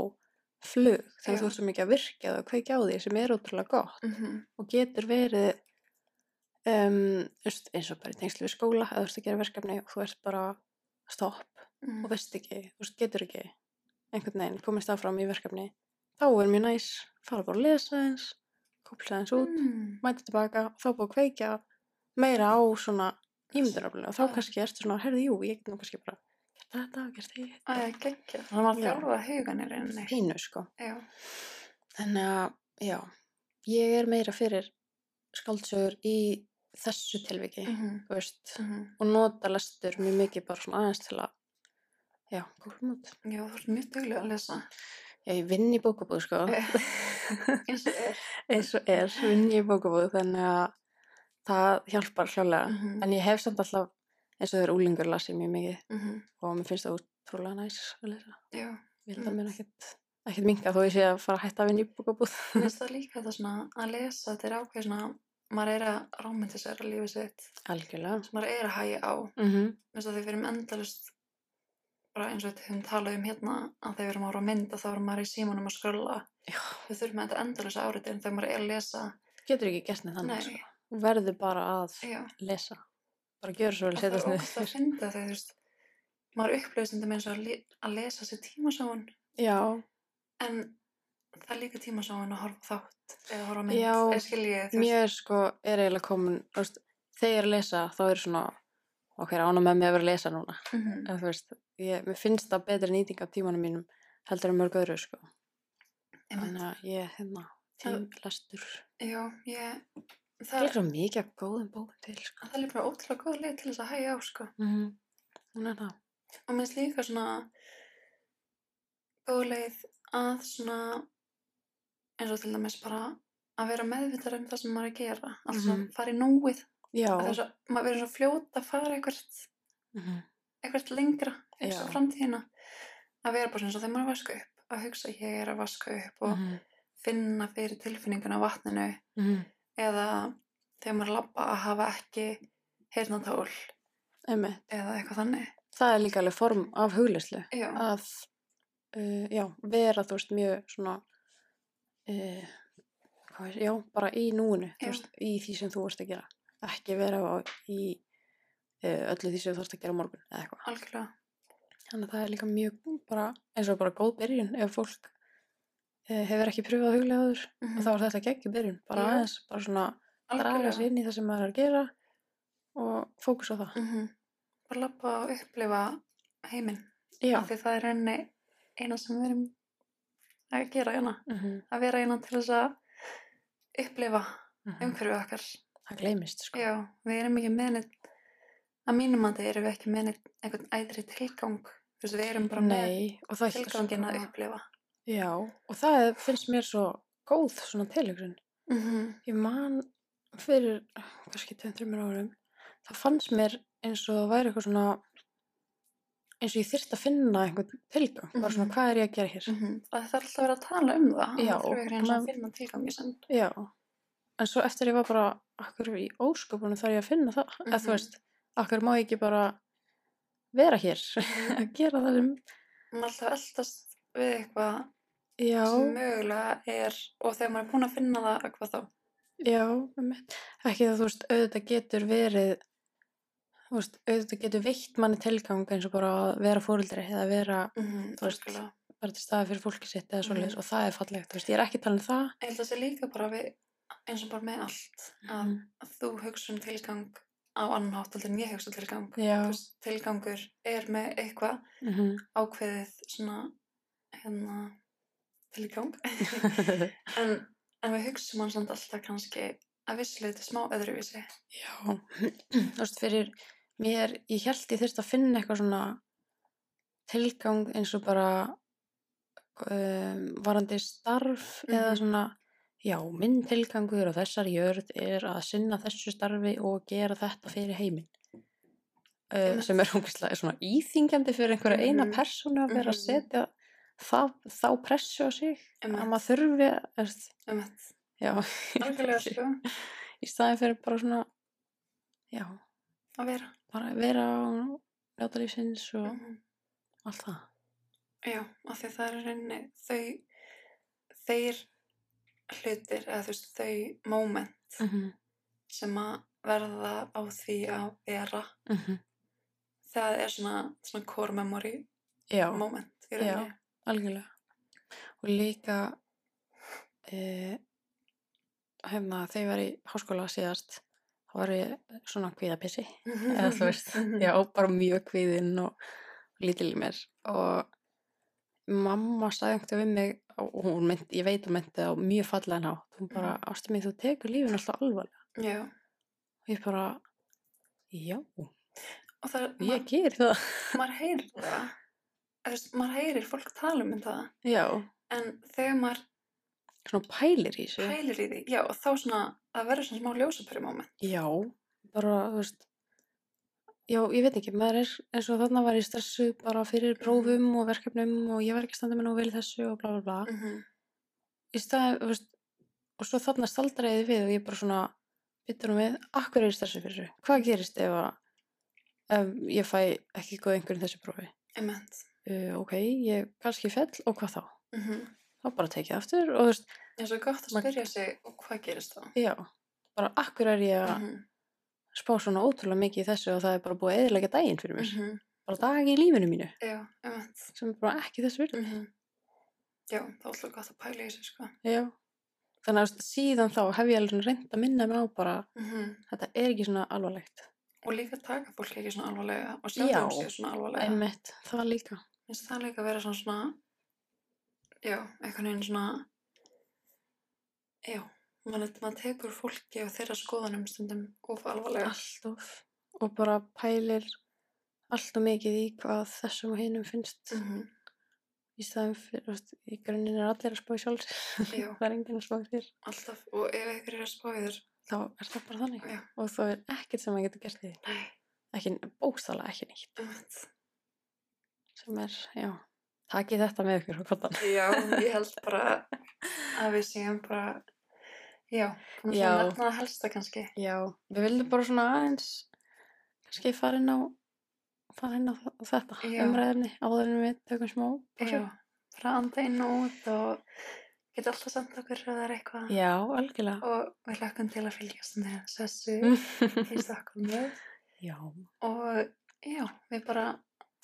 S2: flug
S1: Já.
S2: þannig að þú ert svo mikið að virkja það og kveikja á því sem er ótrúlega gott og getur verið um, just, eins og bara í tengslu við skóla eða þú ert að gera verkefni og þú ert bara stopp
S1: -hmm.
S2: og veist ekki, þú veist, getur ekki einhvern veginn komist áfram í verkefni þá er mjög næs, fara bara að lesa eins kópla eins út,
S1: Mm.
S2: mæta tilbaka og þá búið að kveikja meira á svona ímyndunaflinu og þá
S1: Já.
S2: kannski ertu svona, herði, jú, ég get nú kannski bara gert þetta, gert
S1: Æ,
S2: þetta
S1: geggja. Þannig að maður
S2: Já.
S1: þjálfa hugan er einni.
S2: pínu, sko
S1: Já,
S2: Þannig að, já, ég er meira fyrir skaldsögur í þessu tilviki,
S1: mm
S2: þú veist,
S1: mhm.
S2: og nota lestur mjög mikið bara svona aðeins til að, já, kólum út.
S1: já, þú ert mjög duglega að lesa.
S2: Ég vinn í bókabúð sko,
S1: eins og er
S2: eins og er, vinn ég í bókabúð þannig að það hjálpar hljólega.
S1: Mhm.
S2: En ég hef samt alltaf, eins og þegar úlingur las ég mjög mikið
S1: Mhm,
S2: og mér finnst það útrúlega næs að lesa.
S1: já,
S2: Ég held að
S1: Mm.
S2: mér ekkert, ekkert minga þó ég sé að fara að hætta að vinna í bókabúð.
S1: mér finnst það líka það svona að lesa þetta er ákveð svona maður er að romantisera lífið sitt
S2: Algjörlega.
S1: sem maður er að hægja á
S2: Mm
S1: Mér finnst að þegar við erum endalust bara eins og við höfum talað um hérna að þegar við erum að voru að mynda þá erum maður í símanum að skrölla
S2: Já.
S1: við þurfum þetta endalust árið en þegar maður er að lesa
S2: Getur ekki gert neitt
S1: nei,
S2: þannig sko. Þú verður bara að
S1: já,
S2: lesa. Bara gjöra svo vel
S1: og það
S2: setjast
S1: er
S2: niður.
S1: ógst að finna þegar þú veist maður upplöðist þetta með eins og að, li- að lesa sér tímasóun
S2: Já,
S1: en það er líka tímasóun að horfa á þátt eða horfa á mynd
S2: Já,
S1: eða skilji þú veist
S2: mér sko er eiginlega komin, þú veist, þegar ég er að lesa þá er svona, ok, ánum með mig að vera að lesa núna.
S1: mhm,
S2: En þú veist, ég, mér finnst það betri nýting af tímanum mínum heldur en mörg öðru sko.
S1: einmitt.
S2: Þannig að ég, hérna,
S1: Það-
S2: tímlastur.
S1: já, ég
S2: Það
S1: það
S2: er
S1: er,
S2: svo mikið af góðum bókum til sko.
S1: það er bara ótrúlega góð leið til þess að hægja á sko
S2: Mm -hmm. Hún er það.
S1: og mér finnst líka svona góð leið að svona eins og til dæmis bara að vera meðvitað um það sem maður er að gera allt svona
S2: Mhm.
S1: fara í nóið
S2: Já.
S1: að það er svo, maður verður svo fljóta að fara eitthvað
S2: Mm -hmm.
S1: eitthvað lengra eins
S2: Já.
S1: og framtíðina að vera bara svona eins og þegar maður er að vaska upp að hugsa ég er að vaska upp
S2: Mhm.
S1: og finna fyrir tilfinninguna á vatninu
S2: Mhm.
S1: eða þegar maður er að labba að hafa ekki heyrnatól eða eitthvað þannig
S2: Það er líka alveg form af huglislu.
S1: já,
S2: að uh, já, vera þú veist mjög svona uh, hvað veist, já, bara í núinu
S1: Já.
S2: þú veist, í því sem þú vorst að gera ekki vera á, í uh, öllu því sem þú vorst að gera á morgun eða eitthvað,
S1: algjörlega
S2: þannig að það er líka mjög bara, eins og bara góð byrjun ef fólk uh, hefur ekki pröfað huglega áður
S1: mm
S2: og þá er þetta geggjum byrjun bara
S1: Já.
S2: aðeins, bara svona draga sér inn í það sem maður er að gera og fókus á það
S1: mm bara labba og upplifa heiminn
S2: já,
S1: af því það er henni eina sem við erum að gera hérna
S2: mm -hmm.
S1: að vera hérna til þess að upplifa umhverfið okkar
S2: mhm. það gleymist sko
S1: Um já, við erum ekki meðnitt að mínum að erum við ekki meðnitt einhvern æðri tilgang þú veist, við erum bara með
S2: Nei, og það
S1: tilgangin að
S2: sko-
S1: upplifa
S2: Já, og það er- finnst mér svo góð svona tilhugsun.
S1: mm -hmm.
S2: Ég man fyrir ah, kannski 2-3 árum, það fannst mér eins og það væri eitthvað svona, eins og ég þyrst að finna einhvern tilgang, bara svona
S1: Mhm.
S2: hvað er ég að gera hér?
S1: það þarf alltaf að vera að tala um það
S2: Já,
S1: það þurfum ekki eins og
S2: maður-
S1: að finna tilgangi sem
S2: Já, en svo eftir ég var bara, akkur í ósköpunum þarf ég að finna það, eða þú
S1: Mhm.
S2: veist, akkur má ég ekki bara vera hér, að gera það um sem,
S1: maður alltaf eldast við eitthvað
S2: já.
S1: sem mögulega er og þegar maður er búin að finna það að hvað þá
S2: Já, einmitt. ekki það, þú veist, auðvitað getur verið, þú veist, auðvitað getur veitt manni tilgang eins og bara að vera fóreldri eða vera
S1: Mhm,
S2: Þú veist,
S1: algjörlega.
S2: bara til staði fyrir fólki sitt eða svoleiðis
S1: Mhm.
S2: og það er fallegt, þú veist, ég er ekki talað um það.
S1: Ég held að það sé líka bara við, eins og bara með allt, að
S2: Mhm.
S1: þú hugsa um tilgang á annan hátt heldur en ég hugsa um tilgang.
S2: Já,
S1: Þú veist, tilgangur er með eitthvað
S2: mhm.
S1: ákveðið svona, hérna, tilgang.
S2: Mhm.
S1: en, en við hugsaum hann samt alltaf kannski að vissleiti smá öðruvísi.
S2: já, þú veist, fyrir mér, ég held ég þurfti að finna eitthvað svona tilgang eins og bara um, varandi starf eða
S1: Mhm.
S2: svona, já, minn tilgangur á þessari jörð er að sinna þessu starfi og gera þetta fyrir heiminn. Uh,
S1: Einmitt.
S2: sem er umkvæmstlega svona íþingjandi fyrir einhverja eina
S1: Mhm.
S2: persónu að vera að
S1: Mhm.
S2: setja það, þá pressu á sig
S1: Um
S2: að
S1: að,
S2: maður þurfi að, þú veist,
S1: um að,
S2: já,
S1: algjörlega sko,
S2: í staðin fyrir bara svona, já,
S1: að vera.
S2: bara vera og njóta lífsins og
S1: Mhm.
S2: Mm. allt það.
S1: Já, af því það er rauninni þau, þeir hlutir, eða þú veist, þau moment
S2: Mm -hmm.
S1: sem að verða á því að vera,
S2: Mm -hmm.
S1: það er svona, svona core memory
S2: Já,
S1: moment í rauninni.
S2: algjörlega. Og líka, eh, hefna, þegar ég var í háskóla síðast, þá var ég svona kvíðapissi, eða þú veist, já, bara mjög kvíðinn og lítil í mér. Og mamma sagði einhvern við mig, og hún myndi, ég veit hún myndi á mjög fallega nátt, hún bara, ástu mig, þú tekur lífin alltaf alvarlega.
S1: Já,
S2: Og ég bara, já,
S1: og það,
S2: ég ger það.
S1: maður heyrir það, eða þú veist, maður heyrir fólk tala um það
S2: Já,
S1: en þegar maður
S2: Svona pælir í þessu.
S1: pælir í því já, þá svona, það verður svona smá ljósapæri moment
S2: Já, bara, þú veist, já, ég veit ekki, maður er eins og þarna var ég stressu bara fyrir prófum og verkefnum og ég var ekki að standa með nú vel í þessu og bla bla bla.
S1: mm -hmm.
S2: Í staði, þú veist, og svo þarna staldraði ég við og ég bara svona, byttur um við, akkur er ég stressu fyrir þessu? Hvað gerist ef að, ef ég fæ ekki góð einhverjum þessu prófi?
S1: ement
S2: Uh, ok, ég kannski fell og hvað þá?
S1: mm -hmm.
S2: Þá bara tekið aftur og þú veist,
S1: eins og gott að
S2: Mag-
S1: spyrja sig og hvað gerist þá
S2: já, bara akkur er ég að
S1: mm
S2: spá svona ótrúlega mikið í þessu og það er bara búið að eðilega daginn fyrir mér.
S1: -hmm.
S2: bara dag í lífinu mínu
S1: já, ement
S2: sem er bara ekki þess virði.
S1: mm já, þá er alltaf gott að pæla í þessu sko
S2: Já. Þannig að þú veist, síðan þá hef ég alveg reynd að minna mér á bara
S1: mm
S2: þetta er ekki svona alvarlegt.
S1: og líka taka fólk ekki svona alvarlega og sjá
S2: Já.
S1: þeim sér svona alvarlega
S2: Einmitt, það líka.
S1: finnst það líka að vera svona, svona já, einhvern veginn svona já, maður, maður tekur fólki og þeirra skoðanum stundum of alvarlega
S2: Allt of. Og bara pælir allt og mikið í hvað þessum og hinum finnst
S1: mm -hmm.
S2: í staðum fyrir, þú veist, í grunninn er allir að spá í sjálfs.
S1: Já.
S2: það er enginn að spá í þér.
S1: alltaf, og ef einhver er að spá í þér
S2: Þá er það bara þannig.
S1: Já.
S2: Og þá er ekkert sem maður getur gert í því.
S1: nei,
S2: Ekki, bókstala ekki nýtt.
S1: umhett
S2: Sem er, já, takið þetta með ykkur á kottan.
S1: já, ég held bara að við séum bara já, hún
S2: Já.
S1: fyrir nefna að helsta kannski
S2: Já, við vildum bara svona aðeins kannski fara inn á fara inn á þa- þetta
S1: Já.
S2: umræðinni áður en við tökum smá pásu.
S1: já, bara anda inn og út og geta alltaf samt okkur eða er eitthvað
S2: Já, algjörlega.
S1: og við lakkum til að fylgjast með sessu í Stokkólmu
S2: Já,
S1: og já, við bara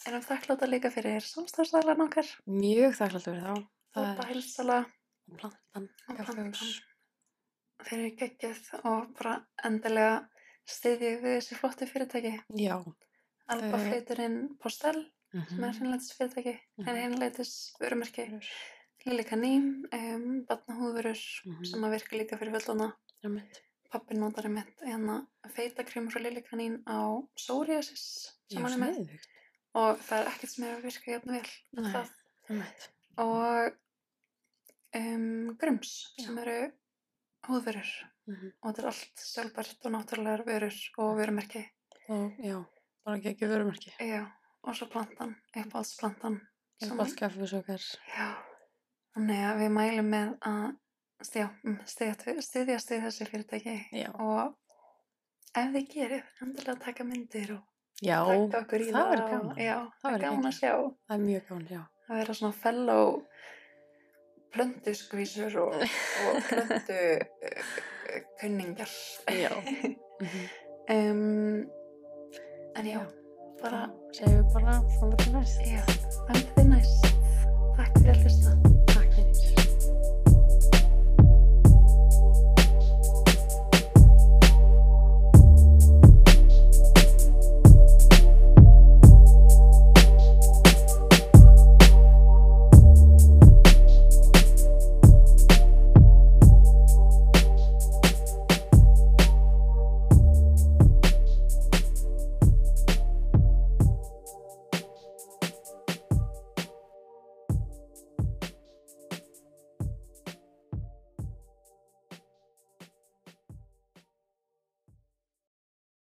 S1: erum þakkláta líka fyrir samstafsælan okkar
S2: mjög þakklátt fyrir þá. Það
S1: Þóta Hilsala
S2: er plantan.
S1: og
S2: kaffihús.
S1: Plantan fyrir geggið og bara endilega styðjið við þessi flottu fyrirtæki
S2: Já.
S1: Alba
S2: Þau-
S1: flyturinn Postel sem er
S2: Mhm.
S1: hreinleitis fyrirtæki
S2: Mhm.
S1: en hreinleitis vörumerki Lili Kanín, um, batnahúfurur
S2: Mhm.
S1: sem að virka líka fyrir völdana
S2: Einmitt.
S1: pappin notar einmitt hérna feitakrimur frá Lili Kanín á psoriasis
S2: Já,
S1: sem hann er með
S2: sniðugt.
S1: og það er ekkert sem hefur virkað jafn vel
S2: Nei.
S1: það
S2: Einmitt.
S1: og um, grums
S2: Já.
S1: sem eru húðverur
S2: Mhm.
S1: og þetta er allt sjálfbært og náttúrulegar vörur og vörumerki
S2: Og já, bara ekki ekki vörumarki.
S1: já, og svo plantan, uppáhaldsplantan
S2: Ég
S1: sem-
S2: er bátt kaffið svo okkar.
S1: já, þannig að við mælum með að stjá, mm, styðja, styðja, styðja þessi fyrirtæki
S2: Já.
S1: og ef þið gerir, endilega taka myndir og
S2: Já,
S1: taka okkur í
S2: það er
S1: og-
S2: gaman.
S1: já,
S2: Það
S1: það er
S2: væri
S1: gaman að
S2: geggjað.
S1: sjá
S2: það er mjög gaman, já.
S1: að vera svona fellow plönduskvísur og, og plöndu eh, kunningar
S2: Já. Mhm.
S1: um, en já,
S2: Já.
S1: bara
S2: Segjum við bara, þá verður næst.
S1: já, þannig þið næst takk fyrir að hlusta